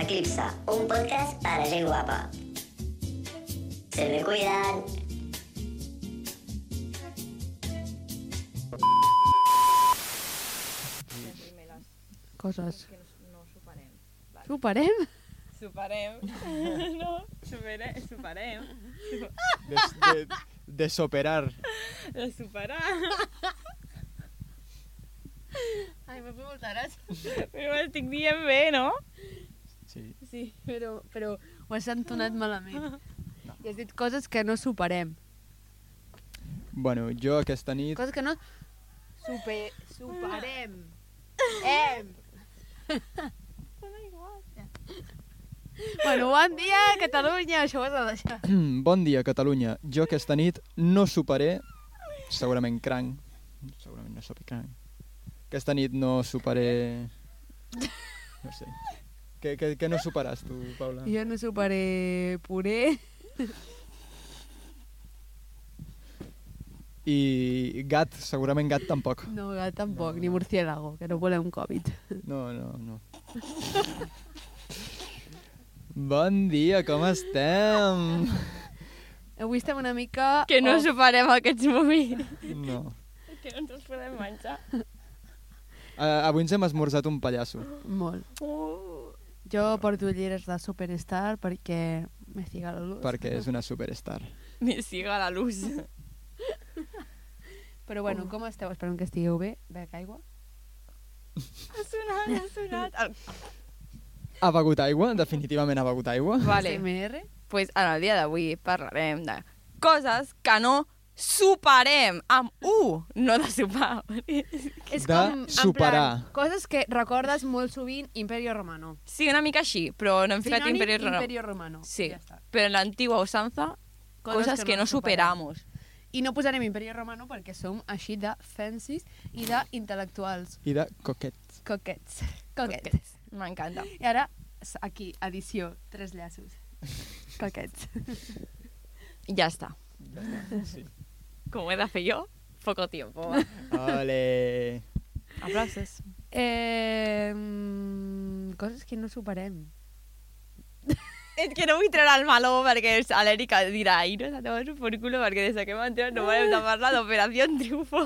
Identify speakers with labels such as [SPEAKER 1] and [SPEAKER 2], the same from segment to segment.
[SPEAKER 1] Eclipsa, un podcast para gente guapa. Se me cuidan.
[SPEAKER 2] les primeres
[SPEAKER 3] Coses.
[SPEAKER 2] que no, no superem.
[SPEAKER 3] Superem?
[SPEAKER 2] Superem. no, supere, superem.
[SPEAKER 4] De, de, de soperar.
[SPEAKER 2] De superar.
[SPEAKER 3] Ai, m'ha fet molta gràcia.
[SPEAKER 2] Però ho estic dient bé, no?
[SPEAKER 4] Sí.
[SPEAKER 3] Sí, però, però ho has entonat malament. I has dit coses que no superem.
[SPEAKER 4] Bueno, jo aquesta nit...
[SPEAKER 3] Coses que no... Super, superem. Em. Bueno, bon dia, Catalunya! Això ho has de deixar.
[SPEAKER 4] bon dia, Catalunya. Jo aquesta nit no superé... Segurament cranc. Segurament no sopi cranc. Aquesta nit no superé... No sé. Què, què, què no superàs tu, Paula?
[SPEAKER 3] Jo no superé puré.
[SPEAKER 4] I gat, segurament gat tampoc.
[SPEAKER 3] No, gat tampoc, ni murciélago, que no volem Covid.
[SPEAKER 4] No, no, no. Bon dia, com estem?
[SPEAKER 3] Avui estem una mica...
[SPEAKER 5] Que no
[SPEAKER 3] off.
[SPEAKER 5] superem aquests moments.
[SPEAKER 4] No.
[SPEAKER 2] Que no ens els podem menjar.
[SPEAKER 4] Uh, avui ens hem esmorzat un pallasso.
[SPEAKER 3] Molt. Oh.
[SPEAKER 2] Uh.
[SPEAKER 3] Jo porto ulleres de Superstar perquè me siga la luz.
[SPEAKER 4] Perquè és una superstar.
[SPEAKER 2] Ni siga la luz.
[SPEAKER 3] Però bueno, com esteu? Esperem que estigueu bé. Bec aigua.
[SPEAKER 2] Ha sonat, ha sonat. El...
[SPEAKER 4] Ha begut aigua? Definitivament ha begut aigua?
[SPEAKER 5] Vale.
[SPEAKER 3] CMR.
[SPEAKER 5] pues en el dia d'avui parlarem de coses que no superem amb U, no de sopar.
[SPEAKER 3] És
[SPEAKER 4] De
[SPEAKER 3] com, en
[SPEAKER 4] superar.
[SPEAKER 3] Plan, coses que recordes molt sovint Imperio Romano.
[SPEAKER 5] Sí, una mica així, però no hem ficat
[SPEAKER 3] Sinònim
[SPEAKER 5] Imperio Romano.
[SPEAKER 3] Imperio Romano.
[SPEAKER 5] Sí,
[SPEAKER 3] Ja està.
[SPEAKER 5] però en l'antigua usanza, cosas, que, no superamos.
[SPEAKER 3] I no posarem Imperio Romano perquè som així de fancies i d'intel·lectuals.
[SPEAKER 4] I de coquet.
[SPEAKER 3] Coquets. Coquets.
[SPEAKER 5] Coquets. M'encanta.
[SPEAKER 3] I ara, s- aquí, edició, tres llaços. Coquets.
[SPEAKER 5] Ja està.
[SPEAKER 4] Sí.
[SPEAKER 5] Com ho he de fer jo? Poco tiempo.
[SPEAKER 4] Ole!
[SPEAKER 5] Aplausos.
[SPEAKER 3] Eh, mm, coses que no superem.
[SPEAKER 5] És que no vull treure el meló perquè l'Erika dirà i no s'ha tomat por culo perquè des que m'ha entrat no volem de parlar d'Operació Triunfo.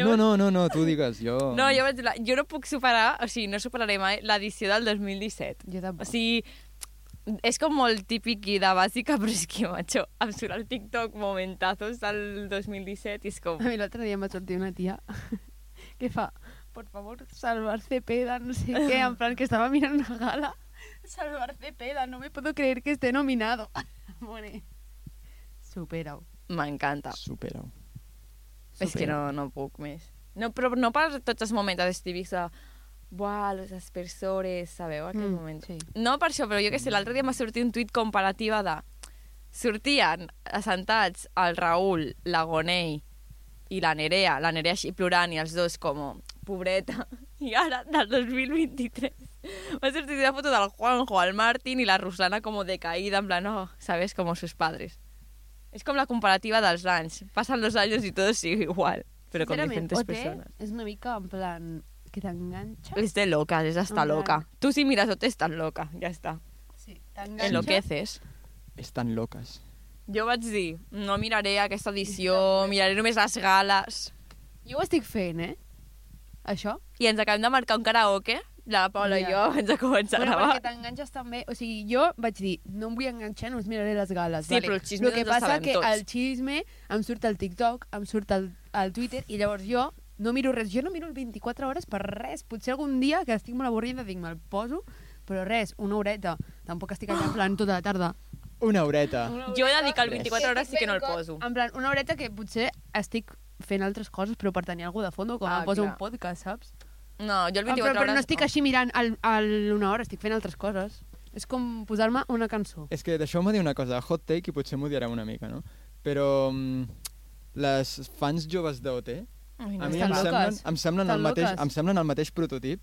[SPEAKER 4] No, no, no, no, tu digues, jo...
[SPEAKER 5] No, jo, vaig, la- jo no puc superar, o sigui, no superaré mai l'edició del 2017.
[SPEAKER 3] Jo
[SPEAKER 5] O
[SPEAKER 3] tampoc.
[SPEAKER 5] sigui, és com molt típic i de bàsica, però és que, macho, em surt el TikTok momentazos del 2017 i és com...
[SPEAKER 3] A mi l'altre dia em va sortir una tia que fa, por favor, salvar Cepeda, no sé qué, en plan que estaba mirando una gala. Salvar Cepeda, no me puedo creer que esté nominado. Bueno, supera-ho.
[SPEAKER 5] M'encanta.
[SPEAKER 4] Supera-ho.
[SPEAKER 5] És que no, no puc més. No, però no per tots els moments els típics de... Buah, los aspersores, sabeu, aquell
[SPEAKER 3] Mm,
[SPEAKER 5] moment.
[SPEAKER 3] sí. Mm.
[SPEAKER 5] No per això, però jo que sé, l'altre dia m'ha sortit un tuit comparativa de... Sortien assentats el Raül, la Gonei i la Nerea, la Nerea així plorant i els dos com pobreta. I ara, del 2023, m'ha sortit una foto del Juanjo, el Martín i la Ruslana com decaïda, en plan, oh, sabes, com sus padres. És com la comparativa dels anys. Passen los anys i tot sigue igual, però con
[SPEAKER 3] Sincerament,
[SPEAKER 5] diferentes
[SPEAKER 3] OT
[SPEAKER 5] persones.
[SPEAKER 3] És una mica en plan que t'enganxa.
[SPEAKER 5] Es de locas, es hasta
[SPEAKER 3] En plan-
[SPEAKER 5] loca. Tú si miras o te estás loca, ya está.
[SPEAKER 3] Sí, t'enganxa.
[SPEAKER 5] Enloqueces.
[SPEAKER 4] Estan loques.
[SPEAKER 5] Jo vaig dir, no miraré aquesta edició, miraré només les gales.
[SPEAKER 3] Jo ho estic fent, eh? Això.
[SPEAKER 5] I ens acabem de marcar un karaoke, la Paula
[SPEAKER 3] Ja.
[SPEAKER 5] i jo, abans de començar a
[SPEAKER 3] Bueno,
[SPEAKER 5] gravar.
[SPEAKER 3] perquè t'enganxes també... O sigui, jo vaig dir, no em vull enganxar, només miraré les gales.
[SPEAKER 5] Sí,
[SPEAKER 3] vale.
[SPEAKER 5] però el xisme
[SPEAKER 3] que
[SPEAKER 5] doncs el
[SPEAKER 3] passa
[SPEAKER 5] sabem
[SPEAKER 3] que
[SPEAKER 5] tots.
[SPEAKER 3] el xisme em surt al TikTok, em surt al, al Twitter, i llavors jo no miro res. Jo no miro el 24 hores per res. Potser algun dia que estic molt avorrida dic, me'l poso, però res, una horeta. Tampoc estic allà en plan tota la tarda.
[SPEAKER 4] Una horeta.
[SPEAKER 5] Jo he de dir que el
[SPEAKER 4] Res.
[SPEAKER 5] 24 hores sí que no el poso.
[SPEAKER 3] En plan, una horeta que potser estic fent altres coses, però per tenir alguna de fondo, com
[SPEAKER 5] Ah,
[SPEAKER 3] em poso
[SPEAKER 5] clar.
[SPEAKER 3] un podcast, saps?
[SPEAKER 5] No, jo el
[SPEAKER 3] Ah,
[SPEAKER 5] 24
[SPEAKER 3] però, però
[SPEAKER 5] hores
[SPEAKER 3] no estic així mirant al, al una hora, estic fent altres coses. És com posar-me una cançó.
[SPEAKER 4] És que deixeu-me dir una cosa, hot take i potser m'odiareu una mica, no? Però mm, les fans joves d'OT
[SPEAKER 5] Ai, no.
[SPEAKER 4] a mi
[SPEAKER 3] Estan
[SPEAKER 4] em
[SPEAKER 3] loques.
[SPEAKER 4] semblen, em, semblen el
[SPEAKER 3] Estan
[SPEAKER 4] mateix,
[SPEAKER 3] loques.
[SPEAKER 4] em semblen el mateix prototip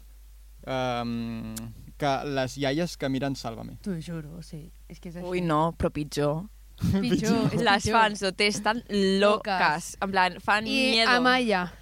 [SPEAKER 4] um, que les iaies que miren Sálvame.
[SPEAKER 3] T'ho juro, sí. És que és així.
[SPEAKER 5] Ui, no, però pitjor.
[SPEAKER 3] Pitjor, és
[SPEAKER 5] Les
[SPEAKER 3] pitjor.
[SPEAKER 5] fans d'OT estan loques.
[SPEAKER 3] Loques.
[SPEAKER 5] En plan, fan
[SPEAKER 3] I
[SPEAKER 5] miedo.
[SPEAKER 3] Amaya.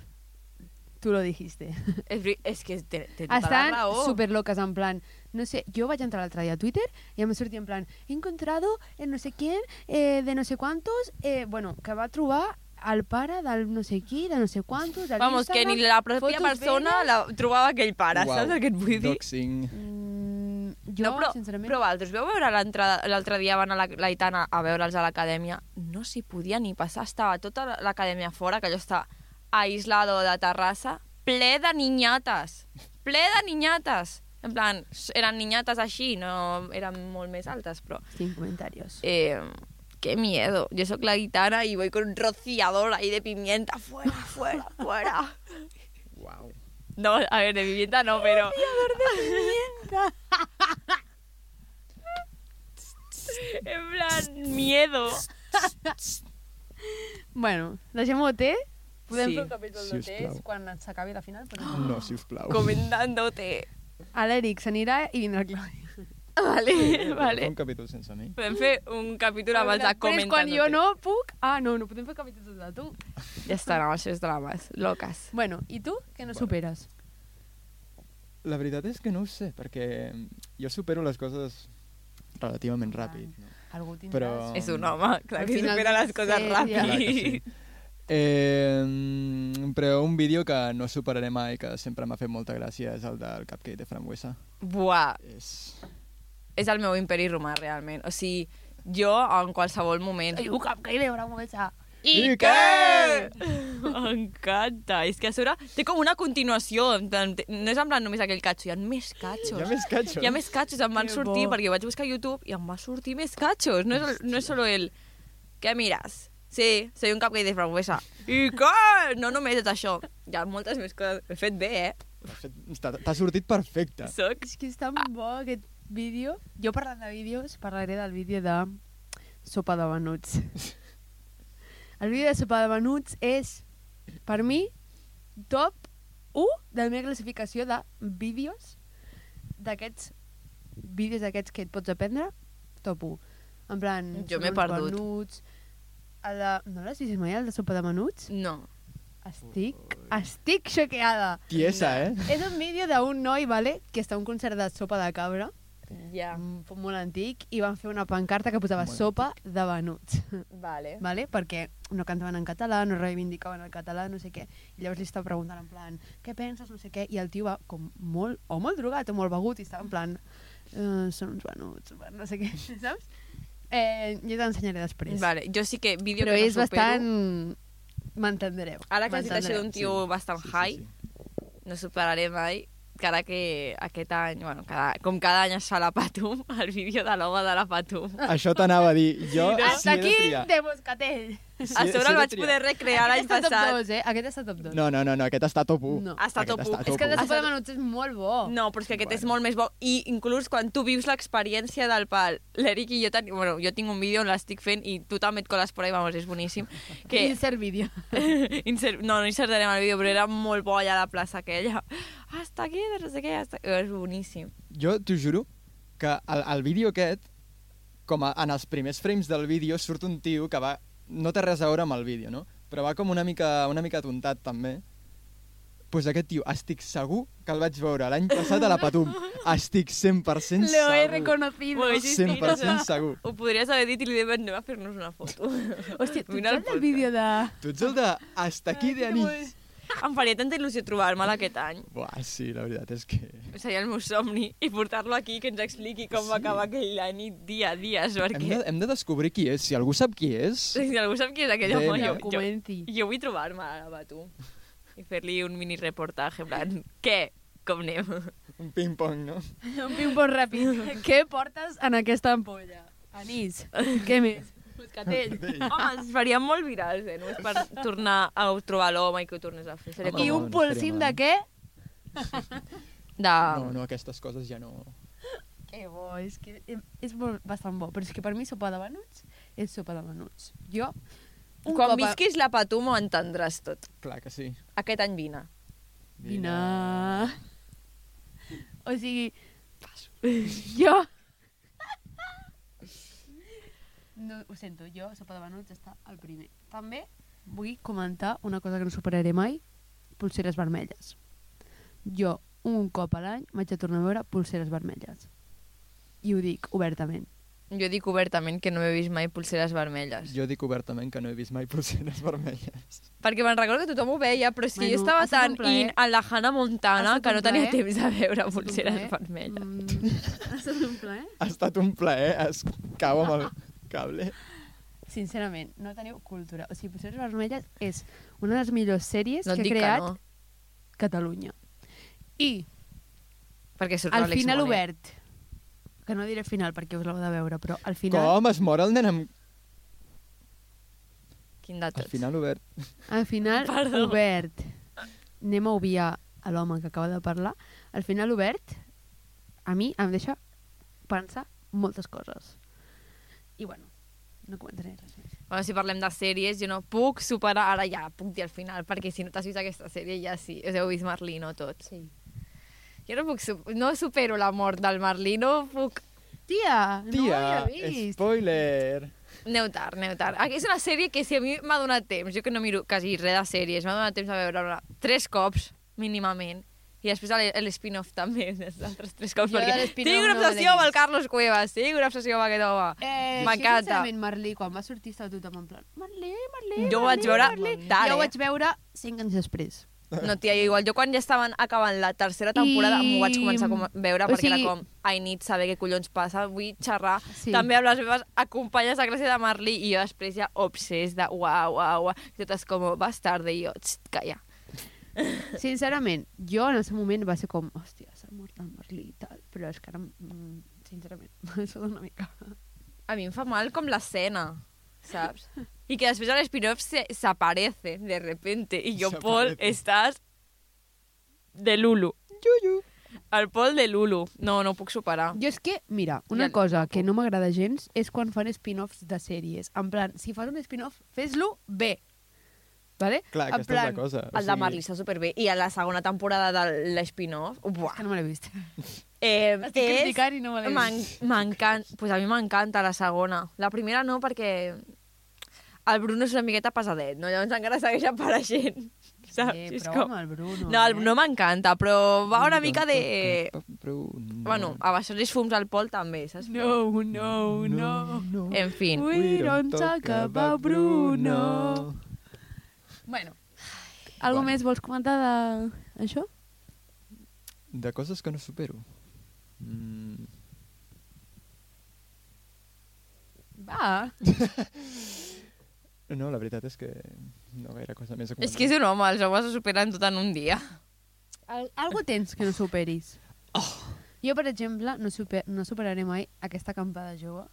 [SPEAKER 3] Tú lo dijiste.
[SPEAKER 5] És, veri- és que té, té tota la
[SPEAKER 3] Estan
[SPEAKER 5] raó.
[SPEAKER 3] súper locas, en plan, no sé, yo vaig entrar l'altre dia a Twitter i em sortia en plan, he encontrado el no sé quién, eh, de no sé quantos, eh, bueno, que va trobar el pare del no sé qui, de no sé quantos, del
[SPEAKER 5] Vamos, que
[SPEAKER 3] Instagram,
[SPEAKER 5] ni la pròpia
[SPEAKER 3] fotos
[SPEAKER 5] persona
[SPEAKER 3] velles.
[SPEAKER 5] la trobava aquell pare,
[SPEAKER 4] Uau,
[SPEAKER 5] saps el que et vull dir?
[SPEAKER 4] Doxing.
[SPEAKER 3] Mm, jo,
[SPEAKER 5] no, però,
[SPEAKER 3] sincerament...
[SPEAKER 5] però vosaltres veu veure l'entrada- l'altre dia van a la, la Itana a veure'ls a l'acadèmia, no s'hi podia ni passar, estava tota l'acadèmia fora, que allò està aislado de Terrassa, ple de niñates, ple de niñates. En plan, s- eren niñates així, no eren molt més altes, però...
[SPEAKER 3] Sin comentarios.
[SPEAKER 5] Eh, qué miedo. Yo soy la guitarra y voy con un rociador ahí de pimienta. Fuera, fuera, fuera.
[SPEAKER 4] Wow.
[SPEAKER 5] No, a ver, de pimienta no, pero... En plan, miedo.
[SPEAKER 3] Bueno, deixem-ho té. Podem
[SPEAKER 5] Sí,
[SPEAKER 3] fer un capítol de
[SPEAKER 4] sisplau.
[SPEAKER 3] tés quan s'acabi la final. Però...
[SPEAKER 4] No, sisplau.
[SPEAKER 5] Comentándote.
[SPEAKER 3] A l'Eric s'anirà i vindrà la Clàudia.
[SPEAKER 5] Vale,
[SPEAKER 4] Un
[SPEAKER 5] vale.
[SPEAKER 4] capítol sense mi.
[SPEAKER 5] Podem fer un capítol abans de
[SPEAKER 3] Però és quan
[SPEAKER 5] comentándote.
[SPEAKER 3] jo no puc... Ah, no, no podem fer capítols de tu.
[SPEAKER 5] Ja estan amb els seus drames, loques.
[SPEAKER 3] Bueno, i tu, que no
[SPEAKER 4] Bueno.
[SPEAKER 3] superes?
[SPEAKER 4] La veritat és que no ho sé, perquè jo supero les coses relativament ràpid. No?
[SPEAKER 3] Algú tindràs.
[SPEAKER 4] Però-
[SPEAKER 5] És un home, clar
[SPEAKER 3] Al
[SPEAKER 5] que
[SPEAKER 3] final
[SPEAKER 5] supera les coses
[SPEAKER 3] sí, ja.
[SPEAKER 4] Clar que sí.
[SPEAKER 5] ràpid.
[SPEAKER 4] Eh, mm, però un vídeo que no superaré mai, que sempre m'ha fet molta gràcia, és el del cupcake de frambuesa.
[SPEAKER 5] Buah,
[SPEAKER 4] És...
[SPEAKER 5] és el meu imperi romà, realment. O sigui, jo en qualsevol moment...
[SPEAKER 3] Ai, un cupcake de bramuesa.
[SPEAKER 4] I què?
[SPEAKER 5] M'encanta. És que a sobre té com una continuació. en plan, té- No és en plan només aquell catxo, hi ha més catxos.
[SPEAKER 4] Hi ha més eh? catxos.
[SPEAKER 5] Hi ha més catxos. Em van
[SPEAKER 3] Que
[SPEAKER 5] sortir,
[SPEAKER 3] bo.
[SPEAKER 5] perquè vaig buscar a YouTube i em va sortir més catxos. No és, el- no és solo el... Què mires? Sí, soy un cupcake de frambuesa. I què? No només és això. Hi ha moltes més coses. He fet bé, eh?
[SPEAKER 4] De fet, T'ha t'ha sortit perfecte.
[SPEAKER 5] Soc...
[SPEAKER 3] És que és tan bo aquest vídeo. Jo parlant de vídeos, parlaré del vídeo de Sopa de Venuts. El vídeo de Sopa de Venuts és, per mi, top 1 de la meva classificació de vídeos d'aquests vídeos d'aquests que et pots aprendre, top 1. En plan,
[SPEAKER 5] Jo
[SPEAKER 3] són
[SPEAKER 5] m'he
[SPEAKER 3] uns
[SPEAKER 5] perdut.
[SPEAKER 3] Venuts, el de... No l'has vist mai, el de Sopa de Venuts?
[SPEAKER 5] No.
[SPEAKER 3] Estic, estic xoqueada.
[SPEAKER 4] Tiesa, eh?
[SPEAKER 3] És un vídeo d'un noi, vale, que està a un concert de sopa de cabra,
[SPEAKER 5] Ja.
[SPEAKER 3] mm, molt antic, i van fer una pancarta que posava
[SPEAKER 4] Molt
[SPEAKER 3] sopa de venuts,
[SPEAKER 5] Vale.
[SPEAKER 3] vale? perquè no cantaven en català, no reivindicaven el català, no sé què. I llavors li estava preguntant en plan, què penses, no sé què, i el tio va com molt, o molt drogat o molt begut, i estava en plan, eh, són uns venuts, no sé què, saps? Eh, jo t'ensenyaré després.
[SPEAKER 5] Vale, jo sí que vídeo
[SPEAKER 3] Però
[SPEAKER 5] que no
[SPEAKER 3] és
[SPEAKER 5] supero...
[SPEAKER 3] bastant... M'entendreu.
[SPEAKER 5] Ara que has dit això doncs,
[SPEAKER 3] m'entendreu.
[SPEAKER 5] d'un tio sí. bastant sí, high, sí, sí. no superaré mai encara que aquest any, bueno, cada, com cada any es fa la Patum, el vídeo de l'home de la Patum.
[SPEAKER 4] Això t'anava a dir. Jo, si
[SPEAKER 3] Hasta
[SPEAKER 4] he de
[SPEAKER 3] aquí
[SPEAKER 4] triar,
[SPEAKER 3] de Moscatell.
[SPEAKER 4] si
[SPEAKER 5] A sobre
[SPEAKER 4] he- si he
[SPEAKER 5] el
[SPEAKER 4] de
[SPEAKER 5] vaig
[SPEAKER 4] triar-
[SPEAKER 5] poder recrear l'any
[SPEAKER 3] Aquest està top
[SPEAKER 5] passat.
[SPEAKER 3] 2, eh? Aquest està top 2.
[SPEAKER 4] No, no, no, no, aquest està top 1.
[SPEAKER 3] No.
[SPEAKER 5] Ha estat top u.
[SPEAKER 4] Aquest està
[SPEAKER 5] És
[SPEAKER 4] top
[SPEAKER 3] És que el de
[SPEAKER 4] u.
[SPEAKER 5] Ah,
[SPEAKER 3] Sopa de
[SPEAKER 5] sí.
[SPEAKER 3] Menuts és molt bo.
[SPEAKER 5] No, però és que aquest és
[SPEAKER 4] Bueno.
[SPEAKER 5] molt més bo. I inclús quan tu vius l'experiència del pal, l'Eric i jo tenim... Bueno, jo tinc un vídeo on l'estic fent i tu també et coles per ahí, vamos, és boníssim. Que
[SPEAKER 3] Insert vídeo.
[SPEAKER 5] Insert, no, no insertarem el vídeo, però era molt bo allà a la plaça aquella. Hasta aquí, no sé què, hasta... És boníssim.
[SPEAKER 4] Jo t'ho juro que el, el vídeo aquest, com a, en els primers frames del vídeo, surt un tio que va... No té res a veure amb el vídeo, no? Però va com una mica, una mica tontat, també. Doncs pues aquest tio, estic segur que el vaig veure l'any passat a la Patum. Estic 100%
[SPEAKER 3] Lo he
[SPEAKER 4] segur.
[SPEAKER 3] reconocido.
[SPEAKER 5] Ho he vist.
[SPEAKER 4] 100% segur.
[SPEAKER 5] Ho podries haver dit i li deves anem a fer-nos una foto.
[SPEAKER 3] Hòstia, tu
[SPEAKER 5] Vine al
[SPEAKER 3] saps el
[SPEAKER 5] podcast.
[SPEAKER 3] vídeo de...
[SPEAKER 4] Tu ets el de hasta aquí de anís.
[SPEAKER 5] Em faria tanta il·lusió trobar-me'l aquest any.
[SPEAKER 4] Buah, sí, la veritat és que...
[SPEAKER 5] Seria el meu somni i portar-lo aquí que ens expliqui com va
[SPEAKER 4] Sí.
[SPEAKER 5] acabar aquella nit dia a dia,
[SPEAKER 4] Hem de,
[SPEAKER 5] perquè...
[SPEAKER 4] hem de descobrir qui és. Si algú sap qui és...
[SPEAKER 5] Si algú sap qui és aquell
[SPEAKER 4] Bé,
[SPEAKER 5] home,
[SPEAKER 4] no.
[SPEAKER 5] jo, jo,
[SPEAKER 3] Documenti.
[SPEAKER 5] jo vull trobar-me ara, va, tu. I fer-li un mini reportatge, en plan, què? Com anem?
[SPEAKER 4] Un ping-pong, no?
[SPEAKER 3] Un ping-pong ràpid. Què portes en aquesta ampolla? Anís. Què més? Moscatell.
[SPEAKER 5] Home, ens faríem molt virals, eh? Només per tornar a trobar l'home i que ho tornes a fer. Seria
[SPEAKER 3] I
[SPEAKER 4] Home,
[SPEAKER 5] com...
[SPEAKER 4] no,
[SPEAKER 3] un
[SPEAKER 4] no
[SPEAKER 3] polsim de
[SPEAKER 4] estaria
[SPEAKER 3] què?
[SPEAKER 5] De...
[SPEAKER 3] ah.
[SPEAKER 4] No, no, aquestes coses ja no...
[SPEAKER 3] Que bo, és que és molt, bastant bo. Però és que per mi sopa de venuts és sopa de venuts. Jo, un
[SPEAKER 5] Quan
[SPEAKER 3] cop a-
[SPEAKER 5] visquis la Patum ho entendràs tot.
[SPEAKER 4] Clar que sí.
[SPEAKER 5] Aquest any vine.
[SPEAKER 3] Dinar. O sigui... Jo... No, ho sento, jo, sopa de venuts, està al primer. També vull comentar una cosa que no superaré mai, Pulseres Vermelles. Jo, un cop a l'any, vaig a tornar a veure Pulseres Vermelles. I ho dic obertament.
[SPEAKER 5] Jo dic obertament que no he vist mai pulseres vermelles.
[SPEAKER 4] Jo dic obertament que no he vist mai pulseres vermelles.
[SPEAKER 5] Perquè me'n recordo que tothom ho veia, però és que
[SPEAKER 3] Bueno,
[SPEAKER 5] jo estava
[SPEAKER 3] ha sigut
[SPEAKER 5] tan
[SPEAKER 3] un plaer.
[SPEAKER 5] in en la Hannah
[SPEAKER 3] Ha
[SPEAKER 5] Montana
[SPEAKER 3] estat
[SPEAKER 5] que
[SPEAKER 3] un
[SPEAKER 5] no tenia
[SPEAKER 3] plaer.
[SPEAKER 5] temps de veure
[SPEAKER 3] estat un
[SPEAKER 5] pulseres
[SPEAKER 3] plaer.
[SPEAKER 5] vermelles.
[SPEAKER 3] Mm, ha estat un plaer.
[SPEAKER 4] Ha estat un plaer, es cau amb el cable.
[SPEAKER 3] Sincerament, no teniu cultura. O sigui, Pulseres Vermelles és una de les millors sèries
[SPEAKER 5] No et
[SPEAKER 3] que ha
[SPEAKER 5] dic
[SPEAKER 3] creat
[SPEAKER 5] que no,
[SPEAKER 3] Catalunya. I
[SPEAKER 5] perquè surt
[SPEAKER 3] al
[SPEAKER 5] l'Àlex
[SPEAKER 3] final
[SPEAKER 5] Moner.
[SPEAKER 3] obert, que no diré final perquè us l'heu de veure, però al final,
[SPEAKER 4] Com es mor el nen amb...
[SPEAKER 5] Quin de
[SPEAKER 4] Al
[SPEAKER 5] tots?
[SPEAKER 4] final obert.
[SPEAKER 3] al final
[SPEAKER 5] Perdó.
[SPEAKER 3] obert, anem a obviar a l'home que acaba de parlar, al final obert, a mi em deixa pensar moltes coses. I bueno, no comentaré res més.
[SPEAKER 5] Bueno, si parlem de sèries, jo no puc superar... Ara ja puc dir al final, perquè si no t'has vist aquesta sèrie ja sí. Us heu vist Marlino tots.
[SPEAKER 3] Sí.
[SPEAKER 5] Jo no puc... Su no supero la mort del Marlino, puc...
[SPEAKER 3] Tia, no ho
[SPEAKER 4] Tia,
[SPEAKER 3] havia vist.
[SPEAKER 4] spoiler!
[SPEAKER 5] Aneu tard, aneu tard. Aquí Ah, és una sèrie que si a mi m'ha donat temps, jo que no miro quasi res de sèries, m'ha donat temps de veure-la tres cops, mínimament. I després el- el spin-off també, els altres tres cops.
[SPEAKER 3] Jo de
[SPEAKER 5] Perquè
[SPEAKER 3] l'spin-off
[SPEAKER 5] tinc una
[SPEAKER 3] no l'he
[SPEAKER 5] obsessió amb el
[SPEAKER 3] vist.
[SPEAKER 5] Carlos Cuevas, tinc una obsessió amb aquest home.
[SPEAKER 3] Eh,
[SPEAKER 5] M'encanta.
[SPEAKER 3] M'encanta. Sincerament, Merlí, quan va sortir estava tothom en plan Merlí, Merlí,
[SPEAKER 5] Jo ho
[SPEAKER 3] Merlí,
[SPEAKER 5] vaig veure
[SPEAKER 3] Merlí.
[SPEAKER 5] tard,
[SPEAKER 3] Jo ho
[SPEAKER 5] eh?
[SPEAKER 3] vaig veure cinc anys després.
[SPEAKER 5] No, tia, jo igual. Jo quan ja estaven acabant la tercera temporada
[SPEAKER 3] I-
[SPEAKER 5] m'ho vaig començar a com- veure
[SPEAKER 3] o
[SPEAKER 5] perquè
[SPEAKER 3] sigui-
[SPEAKER 5] era com, ai, nit, saber què collons passa, vull xerrar.
[SPEAKER 3] Sí.
[SPEAKER 5] També amb les meves acompanyes de classe de Marlí i jo després ja obsés de uau, uau, uau. I totes com, vas tarda, i jo, txt, calla.
[SPEAKER 3] Sincerament, jo en el seu moment va ser com, hòstia, s'ha mort el Merlí i tal, però és que ara, mm, sincerament, això dona una mica.
[SPEAKER 5] A mi em fa mal com l'escena, saps? I que després a l'espin-off se, s'aparece de repente i jo, Pol,
[SPEAKER 4] S'aparece.
[SPEAKER 5] estàs de Lulu.
[SPEAKER 4] Yuyu!
[SPEAKER 5] El Pol de Lulu. No, no ho puc superar.
[SPEAKER 3] Jo és que, mira, una
[SPEAKER 5] Ja-
[SPEAKER 3] cosa que no m'agrada gens és quan fan spin-offs de sèries. En plan, si fas un spin-off, fes-lo bé. Vale?
[SPEAKER 4] Clar,
[SPEAKER 3] en
[SPEAKER 4] aquesta és la cosa. O
[SPEAKER 5] El de
[SPEAKER 4] sigui,
[SPEAKER 5] Marley està superbé. I a la segona temporada de l'espin-off, buah,
[SPEAKER 3] "Ah, Que no me l'he vist.
[SPEAKER 5] Eh,
[SPEAKER 3] Estic
[SPEAKER 5] és-
[SPEAKER 3] criticant i no me l'he
[SPEAKER 5] m'en- M'encanta. Pues a mi m'encanta la segona. La primera no, perquè el Bruno és una miqueta pesadet, no? Llavors encara segueix apareixent. Saps?
[SPEAKER 3] Eh,
[SPEAKER 5] És
[SPEAKER 3] però
[SPEAKER 5] com-
[SPEAKER 3] amb el Bruno,
[SPEAKER 5] No, el
[SPEAKER 3] eh?
[SPEAKER 5] Bruno m'encanta, però va una mica de...
[SPEAKER 4] Bruno.
[SPEAKER 5] Bueno, oh, abaixar els fums al Pol també, saps?
[SPEAKER 3] No, no, no.
[SPEAKER 4] no.
[SPEAKER 5] En fin.
[SPEAKER 3] Ui. We don't talk about Bruno. Bueno. Algo
[SPEAKER 4] Bueno.
[SPEAKER 3] més vols comentar de... això?
[SPEAKER 4] De coses que no supero. Mm.
[SPEAKER 3] Va.
[SPEAKER 4] No, la veritat és que no gaire cosa més a
[SPEAKER 5] És que és un home, els homes ho superen tot en un dia.
[SPEAKER 3] Al algo tens que no superis.
[SPEAKER 4] Oh.
[SPEAKER 3] Jo, per exemple, no, super no superaré mai aquesta acampada jove.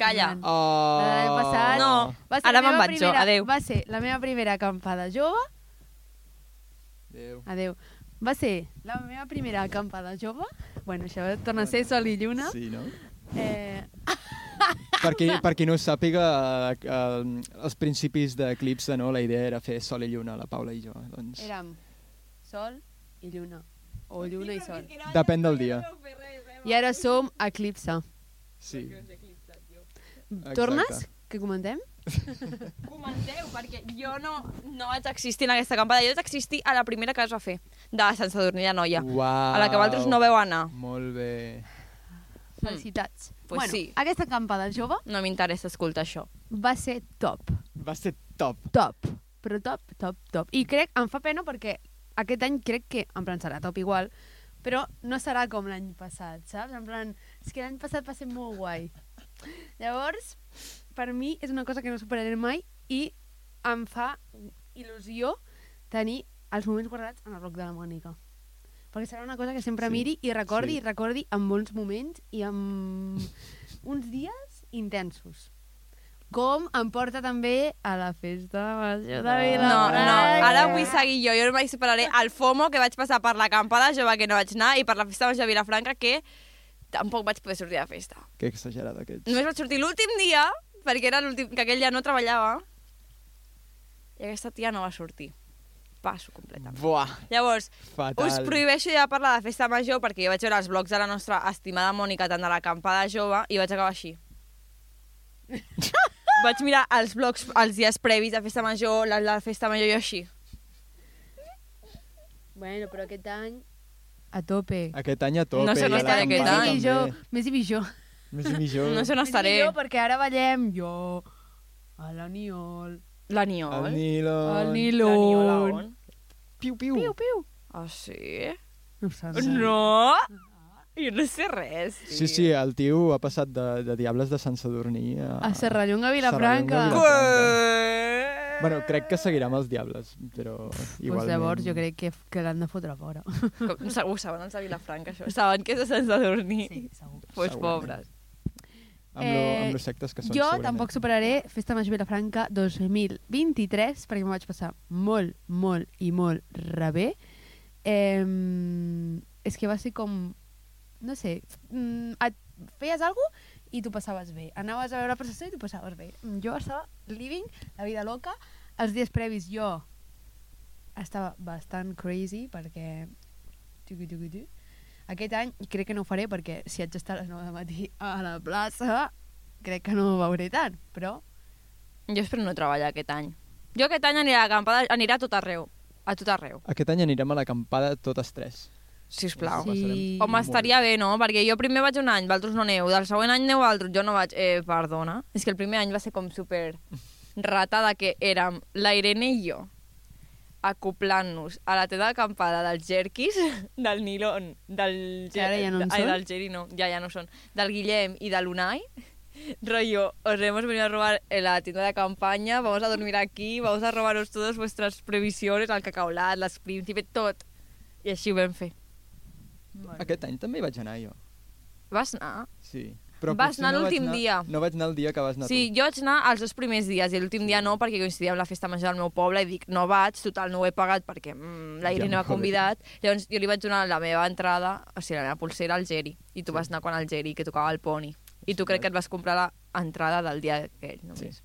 [SPEAKER 5] Calla.
[SPEAKER 3] Oh.
[SPEAKER 4] Oh.
[SPEAKER 3] L'any passat
[SPEAKER 5] No.
[SPEAKER 3] va ser
[SPEAKER 5] Ara
[SPEAKER 3] la meva
[SPEAKER 5] me'n vaig jo,
[SPEAKER 3] primera-
[SPEAKER 5] adeu.
[SPEAKER 3] Va ser la meva primera acampada jove.
[SPEAKER 4] Adéu.
[SPEAKER 3] Adeu. Va ser la meva primera acampada jove. Bueno, això torna a ser sol i lluna.
[SPEAKER 4] Sí, no?
[SPEAKER 3] Eh,
[SPEAKER 4] per, qui, per qui no ho sàpiga, eh, eh, als principis d'Eclipse, no, la idea era fer sol i lluna, la Paula i jo. Doncs...
[SPEAKER 3] érem sol i lluna. O lluna i sol.
[SPEAKER 4] Depèn del dia.
[SPEAKER 3] I ara som a Eclipse.
[SPEAKER 4] Sí.
[SPEAKER 3] Tornes? Que comentem?
[SPEAKER 5] Hmm. Comenteu, perquè jo no, no vaig existir en aquesta acampada. Jo vaig existir a la primera que es va fer, de Sant Sadurní de Noia.
[SPEAKER 4] Uau.
[SPEAKER 5] a la que vosaltres no veu anar.
[SPEAKER 4] Molt bé.
[SPEAKER 3] Felicitats.
[SPEAKER 5] Pues
[SPEAKER 3] bueno,
[SPEAKER 5] sí.
[SPEAKER 3] aquesta acampada jove
[SPEAKER 5] No m'interessa escoltar això.
[SPEAKER 3] va ser top.
[SPEAKER 4] Va ser top.
[SPEAKER 3] top, però top, top, top. I crec, em fa pena perquè aquest any crec que, en plan, serà top igual, però no serà com l'any passat, saps? En plan, és que l'any passat va ser molt guai. Llavors, per mi és una cosa que no superaré mai i em fa il·lusió tenir els moments guardats en el bloc de la Mònica. Perquè serà una cosa que sempre
[SPEAKER 4] Sí,
[SPEAKER 3] sí, miri i recordi
[SPEAKER 4] sí.
[SPEAKER 3] sí. i recordi amb bons moments i amb uns dies intensos. Com em porta també a la festa major de
[SPEAKER 5] No, no,
[SPEAKER 3] Viladrau.
[SPEAKER 5] ara vull seguir jo. Jo no mai superaré el FOMO que vaig passar per l'acampada jove que no vaig anar i per la festa major de Vilafranca que tampoc vaig poder sortir de festa.
[SPEAKER 4] Que exagerada que ets.
[SPEAKER 5] Només vaig sortir l'últim dia, perquè era l'últim, que aquell dia no treballava. I aquesta tia no va sortir. Passo completament.
[SPEAKER 4] Buah,
[SPEAKER 5] Llavors,
[SPEAKER 4] fatal.
[SPEAKER 5] Us prohibeixo ja parlar de festa major perquè jo vaig veure els blogs de la nostra estimada Mònica tant de l'acampada jove i vaig acabar així. vaig mirar els blogs els dies previs de festa major, la, la festa major i jo així.
[SPEAKER 6] Bueno, però aquest any...
[SPEAKER 3] A tope.
[SPEAKER 4] Aquest any a tope.
[SPEAKER 5] No sé
[SPEAKER 4] i
[SPEAKER 5] on
[SPEAKER 4] a
[SPEAKER 5] està
[SPEAKER 4] l'any
[SPEAKER 5] aquest
[SPEAKER 4] passat
[SPEAKER 3] Més
[SPEAKER 5] any.
[SPEAKER 3] i
[SPEAKER 4] també.
[SPEAKER 3] millor, més i millor.
[SPEAKER 4] Més i millor.
[SPEAKER 5] No sé on
[SPEAKER 3] Més i
[SPEAKER 5] estaré.
[SPEAKER 3] millor perquè ara ballem jo, a l'aniol,
[SPEAKER 5] La Niol.
[SPEAKER 4] El Nilo.
[SPEAKER 3] al
[SPEAKER 5] Oh. La Niol a
[SPEAKER 3] nilon.
[SPEAKER 5] on?
[SPEAKER 4] Piu, piu.
[SPEAKER 3] Piu, piu.
[SPEAKER 5] Ah, sí?
[SPEAKER 3] No saps.
[SPEAKER 5] No! Jo no sé res.
[SPEAKER 4] Sí, sí, el tio ha passat de, de Diables de Sant Sadurní a...
[SPEAKER 3] A Serrallonga, Vilafranca.
[SPEAKER 4] Serrallonga,
[SPEAKER 5] Que...
[SPEAKER 4] Bueno, crec que seguirà amb els Diables, però
[SPEAKER 3] Pues
[SPEAKER 4] igualment...
[SPEAKER 3] llavors jo crec que, que l'han de fotre fora.
[SPEAKER 5] Com- se- Ho saben els de Vilafranca, això. Saben que és de Sant Sadurní. Sí.
[SPEAKER 3] segur.
[SPEAKER 5] Pues
[SPEAKER 4] Segurament.
[SPEAKER 5] pobres.
[SPEAKER 4] Amb, lo,
[SPEAKER 3] Eh,
[SPEAKER 4] amb los sectes que són,
[SPEAKER 3] Jo
[SPEAKER 4] segurament.
[SPEAKER 3] tampoc superaré Festa Major Vilafranca 2023 perquè m'ho vaig passar molt, molt i molt rebé. Eh, és que va ser com... No sé, mm, et feies alguna i t'ho passaves bé. Anaves a veure la processó i t'ho passaves bé. Mm, Jo estava living la vida loca. Els dies previs jo estava bastant crazy perquè... tucu, tucu, tu. Aquest any crec que no ho faré perquè si haig d'estar a les 9 del matí a la plaça crec que no ho veuré tant, però...
[SPEAKER 5] Jo espero no treballar aquest any. Jo aquest any aniré a l'acampada, aniré a tot arreu. A tot arreu,
[SPEAKER 4] Aquest any anirem a l'acampada totes tres.
[SPEAKER 5] sisplau. Sí.
[SPEAKER 3] Sí.
[SPEAKER 5] Home,
[SPEAKER 4] molt
[SPEAKER 5] estaria bé, no? Perquè jo primer vaig un any, vosaltres no aneu. Del següent any aneu vosaltres, jo no vaig. Eh, perdona. És que el primer any va ser com super ratada que érem la Irene i jo acoplant-nos a la teva acampada dels jerquis, del Nilon, del...
[SPEAKER 3] Que ara ja no en
[SPEAKER 5] ai,
[SPEAKER 3] són?
[SPEAKER 5] del Geri no, ja, ja no són. Del Guillem i de l'Unai. Rollo, os hemos venido a robar en la tienda de campaña, vamos a dormir aquí, vamos a robaros todas vuestras previsiones, el cacaolat, les príncipe, tot. I així ho vam fer.
[SPEAKER 4] Aquest any també hi vaig anar, jo.
[SPEAKER 5] Vas anar?
[SPEAKER 4] Sí. Però
[SPEAKER 5] Vas
[SPEAKER 4] potser
[SPEAKER 5] anar
[SPEAKER 4] no vaig
[SPEAKER 5] l'últim
[SPEAKER 4] anar-
[SPEAKER 5] dia.
[SPEAKER 4] No vaig anar el dia que vas anar
[SPEAKER 5] Sí,
[SPEAKER 4] tu.
[SPEAKER 5] jo vaig anar els dos primers dies i l'últim dia no perquè coincidia amb la festa major del meu poble i dic, no vaig, total, no ho he pagat perquè mm, la
[SPEAKER 4] Ja
[SPEAKER 5] Irene
[SPEAKER 4] em
[SPEAKER 5] m'ha
[SPEAKER 4] jode.
[SPEAKER 5] convidat. Llavors jo li vaig donar la meva entrada, o sigui, la meva pulsera al Geri i tu vas anar quan el Geri, que tocava el poni. I tu crec que et vas comprar la entrada del dia aquell, només. Sí.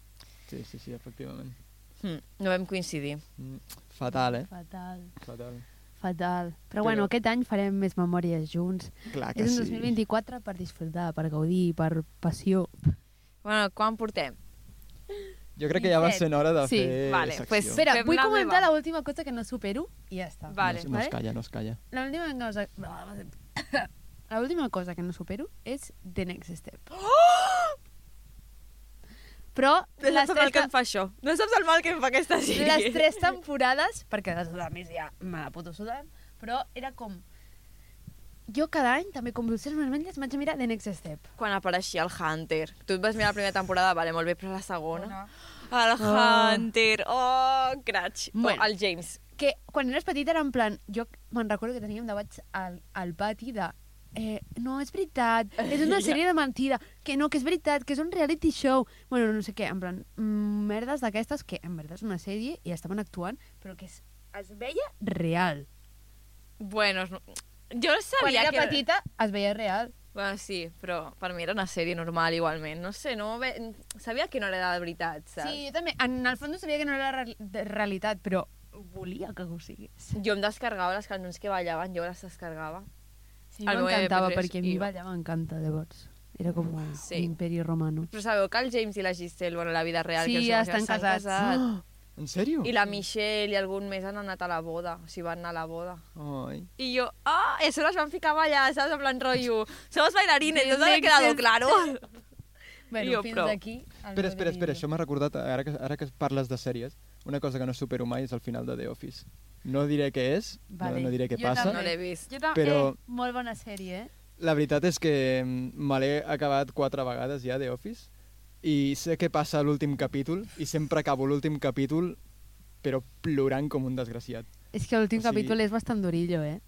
[SPEAKER 4] Sí, sí, sí, efectivament.
[SPEAKER 5] Mm, no vam coincidir.
[SPEAKER 4] Mm. Fatal, eh?
[SPEAKER 3] Fatal,
[SPEAKER 4] Fatal.
[SPEAKER 3] fatal. Però,
[SPEAKER 4] Però-
[SPEAKER 3] bueno, aquest any farem més memòries junts.
[SPEAKER 4] Clar que
[SPEAKER 3] És un
[SPEAKER 4] sí.
[SPEAKER 3] 2024 per disfrutar, per gaudir, per passió.
[SPEAKER 5] Bueno, quan portem?
[SPEAKER 4] Jo crec que ja va sent hora de
[SPEAKER 3] Sí,
[SPEAKER 4] fer
[SPEAKER 5] vale,
[SPEAKER 4] secció.
[SPEAKER 5] pues
[SPEAKER 3] Espera,
[SPEAKER 5] Fem
[SPEAKER 3] vull
[SPEAKER 5] la
[SPEAKER 3] comentar
[SPEAKER 5] meva.
[SPEAKER 3] l'última cosa que no supero i ja està.
[SPEAKER 5] Va. vale,
[SPEAKER 4] no, no
[SPEAKER 3] vale.
[SPEAKER 4] es calla, no es calla.
[SPEAKER 3] L'última cosa... L'última cosa que no supero és The Next Step. Però
[SPEAKER 5] No
[SPEAKER 3] les
[SPEAKER 5] saps el mal
[SPEAKER 3] tres,
[SPEAKER 5] que em fa això. No saps el mal que em fa aquesta sèrie.
[SPEAKER 3] les tres temporades, perquè les de més ja me la puto sudant, però era com... Jo cada any també convulsionalment les vaig mirar The Next Step.
[SPEAKER 5] Quan apareixia el Hunter. Tu et vas mirar la primera temporada, vale, molt bé, però la segona...
[SPEAKER 3] Bona.
[SPEAKER 5] El
[SPEAKER 3] Ah.
[SPEAKER 5] Hunter, oh, craig.
[SPEAKER 3] Bueno.
[SPEAKER 5] Bueno. el James.
[SPEAKER 3] Que quan eres petita era en plan... Jo me'n recordo que teníem debats al, al pati de... Eh, no, és veritat, és una sèrie de mentida, que no, que és veritat, que és un reality show. Bueno, no sé què, en plan, mm, merdes d'aquestes que en veritat és una sèrie i estaven actuant, però que es, es veia real.
[SPEAKER 5] Bueno, es- jo
[SPEAKER 3] Quan
[SPEAKER 5] sabia
[SPEAKER 3] era
[SPEAKER 5] que...
[SPEAKER 3] petita es veia real.
[SPEAKER 5] Bueno, sí, però per mi era una sèrie normal igualment. No sé, no... Ve... Sabia que no era de veritat, saps?
[SPEAKER 3] Sí, jo també. En el fons sabia que no era real- de realitat, però volia que ho sigués.
[SPEAKER 5] Jo em descarregava les cançons que ballaven, jo les descarregava.
[SPEAKER 3] Sí,
[SPEAKER 5] El meu
[SPEAKER 3] m'encantava,
[SPEAKER 5] MP3
[SPEAKER 3] perquè a mi
[SPEAKER 5] i-
[SPEAKER 3] ballar m'encanta, llavors. Era com un
[SPEAKER 5] Sí.
[SPEAKER 3] imperi romano.
[SPEAKER 5] Però sabeu que el James i la Giselle, bueno, la vida real...
[SPEAKER 3] Sí,
[SPEAKER 5] que
[SPEAKER 3] ja
[SPEAKER 5] es veu que
[SPEAKER 3] estan
[SPEAKER 5] s'han
[SPEAKER 3] casats.
[SPEAKER 5] Casat,
[SPEAKER 4] En sèrio?
[SPEAKER 5] Ah. I la Michelle i algun més han anat a la boda, o sigui, van anar a la boda.
[SPEAKER 4] Ai.
[SPEAKER 5] I jo, ah, oh, eso les van ficar a ballar, saps? En plan, rotllo, somos bailarines,
[SPEAKER 3] Del
[SPEAKER 5] no t'ha
[SPEAKER 3] Next
[SPEAKER 5] quedado
[SPEAKER 3] Step.
[SPEAKER 5] claro.
[SPEAKER 3] Bueno,
[SPEAKER 5] Jo,
[SPEAKER 3] fins
[SPEAKER 5] però-
[SPEAKER 3] aquí... el
[SPEAKER 4] Espera,
[SPEAKER 3] meu
[SPEAKER 4] espera, espera,
[SPEAKER 3] deliri.
[SPEAKER 4] això m'ha recordat, ara que, ara que parles de sèries, una cosa que no supero mai és el final de The Office. No diré què és,
[SPEAKER 3] Vale.
[SPEAKER 4] no, no diré què
[SPEAKER 3] Jo
[SPEAKER 4] passa.
[SPEAKER 5] No l'he vist.
[SPEAKER 3] Jo també,
[SPEAKER 4] Però-
[SPEAKER 3] eh, molt bona sèrie, eh?
[SPEAKER 4] La veritat és que mm, me l'he acabat quatre vegades ja, The Office, i sé què passa a l'últim capítol, i sempre acabo l'últim capítol, però plorant com un desgraciat.
[SPEAKER 3] És que l'últim
[SPEAKER 4] O sigui-
[SPEAKER 3] capítol és bastant durillo, eh?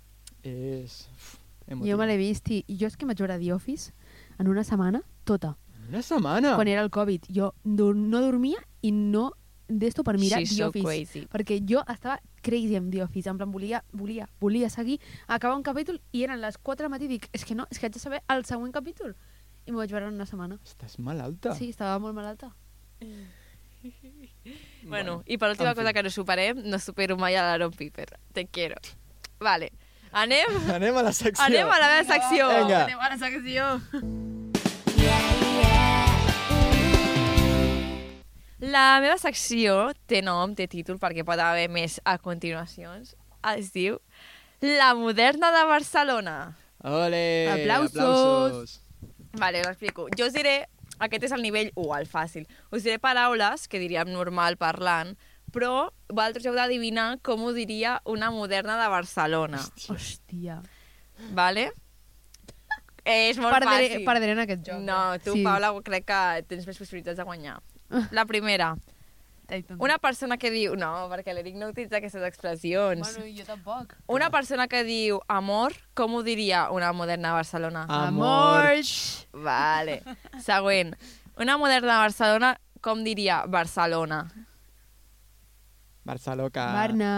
[SPEAKER 4] És... uf, emotiu.
[SPEAKER 3] Jo me l'he vist i, i jo és que vaig veure The Office en una setmana tota,
[SPEAKER 4] Una
[SPEAKER 5] Ah.
[SPEAKER 4] setmana!
[SPEAKER 3] quan era el Covid. Jo dur no dormia i no d'esto per mirar
[SPEAKER 5] She's
[SPEAKER 3] The
[SPEAKER 5] so
[SPEAKER 3] Office.
[SPEAKER 5] crazy.
[SPEAKER 3] Perquè jo estava crazy amb The Office, en plan volia, volia, volia seguir, acabar un capítol i eren les 4 del matí i dic, és que no, és que haig de saber el següent capítol. I m'ho vaig veure en una setmana.
[SPEAKER 4] Estàs malalta?
[SPEAKER 3] Sí, estava molt malalta.
[SPEAKER 5] Bueno, i per última
[SPEAKER 4] en fi.
[SPEAKER 5] cosa que no superem, no supero mai a l'Aaron Piper. Te quiero. Vale, anem,
[SPEAKER 4] Anem a la secció.
[SPEAKER 5] anem a la meva secció.
[SPEAKER 4] Vinga.
[SPEAKER 3] Anem a la secció.
[SPEAKER 5] La meva secció té nom, té títol, perquè pot haver més a continuacions. Es diu la Moderna de Barcelona.
[SPEAKER 4] Ole!
[SPEAKER 3] Aplausos.
[SPEAKER 5] Vale, us explico. Jo us diré, aquest és el nivell 1, el fàcil. Us diré paraules que diríem normal parlant, però vosaltres heu d'adivinar com ho diria una moderna de Barcelona.
[SPEAKER 3] Hòstia.
[SPEAKER 5] Vale? És molt
[SPEAKER 3] Perdré,
[SPEAKER 5] fàcil.
[SPEAKER 3] perdré en aquest joc. eh.
[SPEAKER 5] No, tu, sí. Paula, crec que tens més possibilitats de guanyar. La primera, una persona que diu... No, perquè l'Eric no utilitza aquestes expressions.
[SPEAKER 3] Bueno, jo tampoc.
[SPEAKER 5] Una persona que diu amor, com ho diria una moderna de Barcelona?
[SPEAKER 4] Amors.
[SPEAKER 5] Vale. Següent. Una moderna de Barcelona, com diria Barcelona?
[SPEAKER 4] Barçaloca.
[SPEAKER 5] Ah.
[SPEAKER 3] Barna.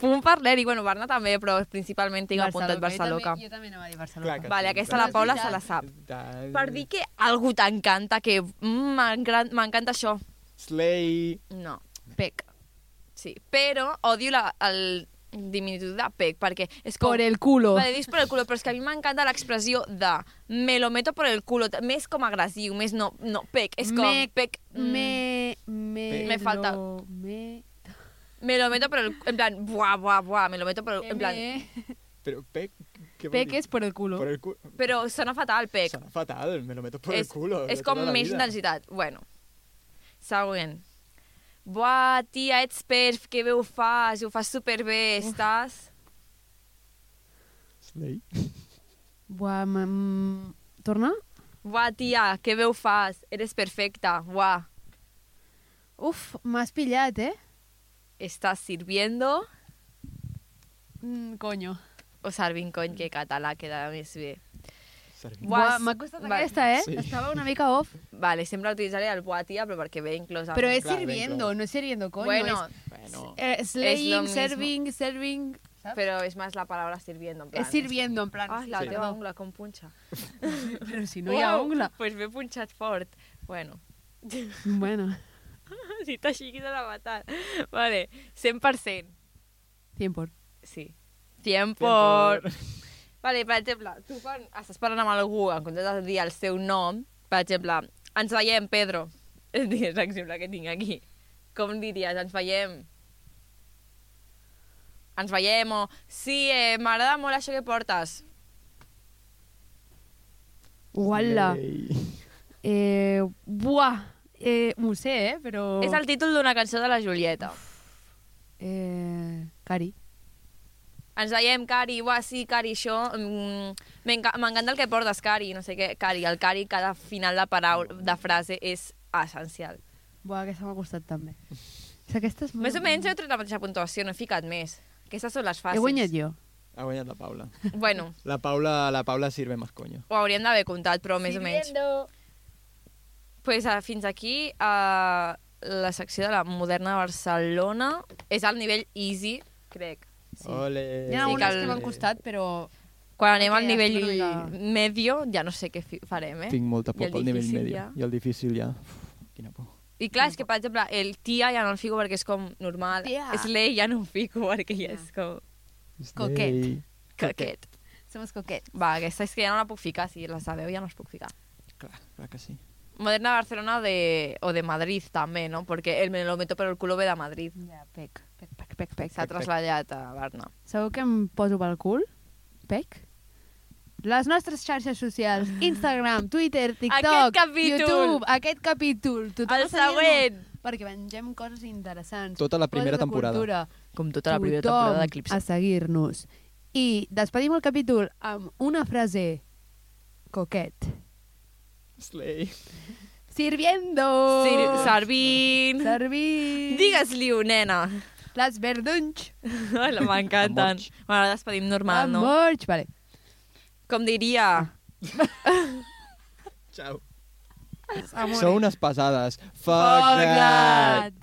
[SPEAKER 5] Punt per l'Eric, bueno, Barna també, però principalment tinc apuntat
[SPEAKER 3] Barceloca.
[SPEAKER 5] Barcelona.
[SPEAKER 3] Jo també, jo també anava a dir
[SPEAKER 4] Clar
[SPEAKER 3] Barcelona.
[SPEAKER 4] que
[SPEAKER 5] Vale,
[SPEAKER 4] sí.
[SPEAKER 5] aquesta la Paula se la sap.
[SPEAKER 4] Da-
[SPEAKER 5] Per dir que algú t'encanta, que mm, m'engra- m'encanta això.
[SPEAKER 4] Slay.
[SPEAKER 5] No,
[SPEAKER 3] Pec.
[SPEAKER 5] sí. Però odio la, el diminutiu de pec, perquè és com...
[SPEAKER 3] Por el culo.
[SPEAKER 5] Vale, dius per el culo, però és que a mi m'encanta l'expressió de me lo meto por el culo, més com agressiu, més no, no, pec, és com
[SPEAKER 3] Me-
[SPEAKER 5] pec, mm,
[SPEAKER 3] Me, me,
[SPEAKER 5] Me falta.
[SPEAKER 3] lo- Me,
[SPEAKER 5] me lo meto por el, en plan, buah, buah, buah, me lo meto por el, en plan,
[SPEAKER 4] Pero pec... ¿qué vol
[SPEAKER 3] Pec
[SPEAKER 4] dir?
[SPEAKER 3] és por el culo.
[SPEAKER 4] Por el culo.
[SPEAKER 5] Però sona fatal, Pec.
[SPEAKER 4] Sona fatal, me lo meto por el
[SPEAKER 5] és,
[SPEAKER 4] culo. de
[SPEAKER 5] és com
[SPEAKER 4] tota la
[SPEAKER 5] més
[SPEAKER 4] vida.
[SPEAKER 5] intensitat. Bueno. Següent. Buah, tia, ets perf, que bé ho fas, ho fas superbé, estàs...
[SPEAKER 4] Slay.
[SPEAKER 3] Buah, m- m- torna?
[SPEAKER 5] Buah, tia, que bé ho fas, eres perfecta, buah.
[SPEAKER 3] Uf, m'has pillat, eh?
[SPEAKER 5] Estàs sirviendo
[SPEAKER 3] Mm, coño.
[SPEAKER 5] o servint cony, que català queda més bé.
[SPEAKER 4] Servir.
[SPEAKER 3] Buah,
[SPEAKER 5] Buah,
[SPEAKER 3] m'ha costat
[SPEAKER 5] vale.
[SPEAKER 3] aquesta, eh?
[SPEAKER 4] Sí.
[SPEAKER 3] Estava una mica off.
[SPEAKER 5] Vale, sempre utilitzaré el buah, tia, però perquè ve inclòs... al-
[SPEAKER 3] Però és
[SPEAKER 4] clar, ben
[SPEAKER 3] sirviendo,
[SPEAKER 4] clar.
[SPEAKER 3] no és sirviendo, coño.
[SPEAKER 5] Bueno,
[SPEAKER 3] és,
[SPEAKER 4] Bueno,
[SPEAKER 3] eh,
[SPEAKER 5] lo
[SPEAKER 3] slaying,
[SPEAKER 5] mismo.
[SPEAKER 3] serving, serving...
[SPEAKER 5] però és més la paraula sirviendo, en plan...
[SPEAKER 3] És sirviendo, en plan...
[SPEAKER 5] Ah, la
[SPEAKER 3] sí,
[SPEAKER 5] teva
[SPEAKER 3] perdó.
[SPEAKER 5] ungla com punxa.
[SPEAKER 3] Però si no hi ha
[SPEAKER 5] Uau,
[SPEAKER 3] ungla.
[SPEAKER 5] Doncs pues m'he punxat fort. Bueno,
[SPEAKER 3] Bueno,
[SPEAKER 5] si t'aixequis a la matar. Vale, 100%.
[SPEAKER 3] 100 por.
[SPEAKER 5] Sí. 100 por... Vale, per exemple, tu quan estàs parlant amb algú, en comptes de dir el seu nom, per exemple, ens veiem, Pedro. És l'exemple que tinc aquí. Com diries, ens veiem? Ens veiem o... Sí, eh, m'agrada molt això que portes.
[SPEAKER 3] Uala.
[SPEAKER 4] slay.
[SPEAKER 3] Eh, buah. Eh, m'ho sé, eh? Però...
[SPEAKER 5] És el títol d'una cançó de la Julieta.
[SPEAKER 3] Eh, cari.
[SPEAKER 5] Ens veiem, Cari, uah, sí, Cari, això... mm, m'enca- M'encanta el que portes, Cari, no sé què. Cari, el Cari, cada final de paraula, de frase, és essencial.
[SPEAKER 3] Buah, aquesta m'ha costat també. O sigui, aquesta és... molt-
[SPEAKER 5] Més o menys heu tret la mateixa puntuació, no he ficat més. Aquestes són les fàcils.
[SPEAKER 3] He guanyat jo.
[SPEAKER 4] Ha guanyat la Paula.
[SPEAKER 5] Bueno,
[SPEAKER 4] La Paula, la Paula sirve más coño.
[SPEAKER 5] ho hauríem d'haver comptat, però més o menys. Pues, uh, fins aquí uh, la secció de la moderna Barcelona. És al nivell easy, crec.
[SPEAKER 3] Sí.
[SPEAKER 4] Ole.
[SPEAKER 3] Hi ha
[SPEAKER 5] Sí,
[SPEAKER 3] algunes
[SPEAKER 5] que el-
[SPEAKER 3] que m'han costat, però...
[SPEAKER 5] Quan anem
[SPEAKER 3] Ok,
[SPEAKER 5] al nivell
[SPEAKER 3] espero que-
[SPEAKER 5] medio, ja no sé què fi- farem, eh?
[SPEAKER 4] Tinc molta
[SPEAKER 5] I
[SPEAKER 4] por
[SPEAKER 5] el
[SPEAKER 4] pel nivell
[SPEAKER 5] difícil
[SPEAKER 4] medi.
[SPEAKER 5] ja.
[SPEAKER 4] I el difícil ja. Uf, quina por.
[SPEAKER 5] I clar, és que, per exemple, el tia ja no el fico perquè és com normal.
[SPEAKER 3] Tia.
[SPEAKER 5] Slay ja no ho fico perquè ja
[SPEAKER 3] Ja.
[SPEAKER 5] és com
[SPEAKER 3] Coquet.
[SPEAKER 4] Slay.
[SPEAKER 5] coquet.
[SPEAKER 3] Somos coquets.
[SPEAKER 5] Va, aquesta és que ja no la puc ficar, si la sabeu ja no us puc ficar.
[SPEAKER 4] Clar, clar que sí.
[SPEAKER 5] Moderna Barcelona de, o de Madrid també, no? Perquè el me lo meto per el culo ve de Madrid.
[SPEAKER 3] Ja, pec, pec, pec, pec, pec.
[SPEAKER 5] S'ha traslladat a Barna.
[SPEAKER 3] Sabeu què em poso pel cul? Pec? Les nostres xarxes socials, Instagram, Twitter, TikTok,
[SPEAKER 5] Aquest capítol.
[SPEAKER 3] YouTube, aquest capítol. Tothom
[SPEAKER 5] El
[SPEAKER 3] ho sabia, no?
[SPEAKER 5] següent.
[SPEAKER 3] Perquè vengem coses interessants.
[SPEAKER 4] Tota la primera
[SPEAKER 3] coses de
[SPEAKER 4] temporada.
[SPEAKER 3] Cultura.
[SPEAKER 5] Com tota la primera
[SPEAKER 3] Tothom
[SPEAKER 5] temporada d'Eclipse.
[SPEAKER 3] a seguir-nos. I despedim el capítol amb una frase coquet.
[SPEAKER 4] Slay.
[SPEAKER 3] Sirviendo!
[SPEAKER 5] Sir Servint!
[SPEAKER 3] Servir!
[SPEAKER 5] Digues-li-ho, nena!
[SPEAKER 3] Les verdunys!
[SPEAKER 5] Hola, M'encanten.
[SPEAKER 4] Amorx.
[SPEAKER 5] Bueno, ara despedim normal, no?
[SPEAKER 3] Amorx! Vale.
[SPEAKER 5] Com diria...
[SPEAKER 4] Ciao.
[SPEAKER 3] Amor.
[SPEAKER 4] Sou unes pesades. Fuck,
[SPEAKER 5] Fuck
[SPEAKER 4] Oh, that.
[SPEAKER 5] that.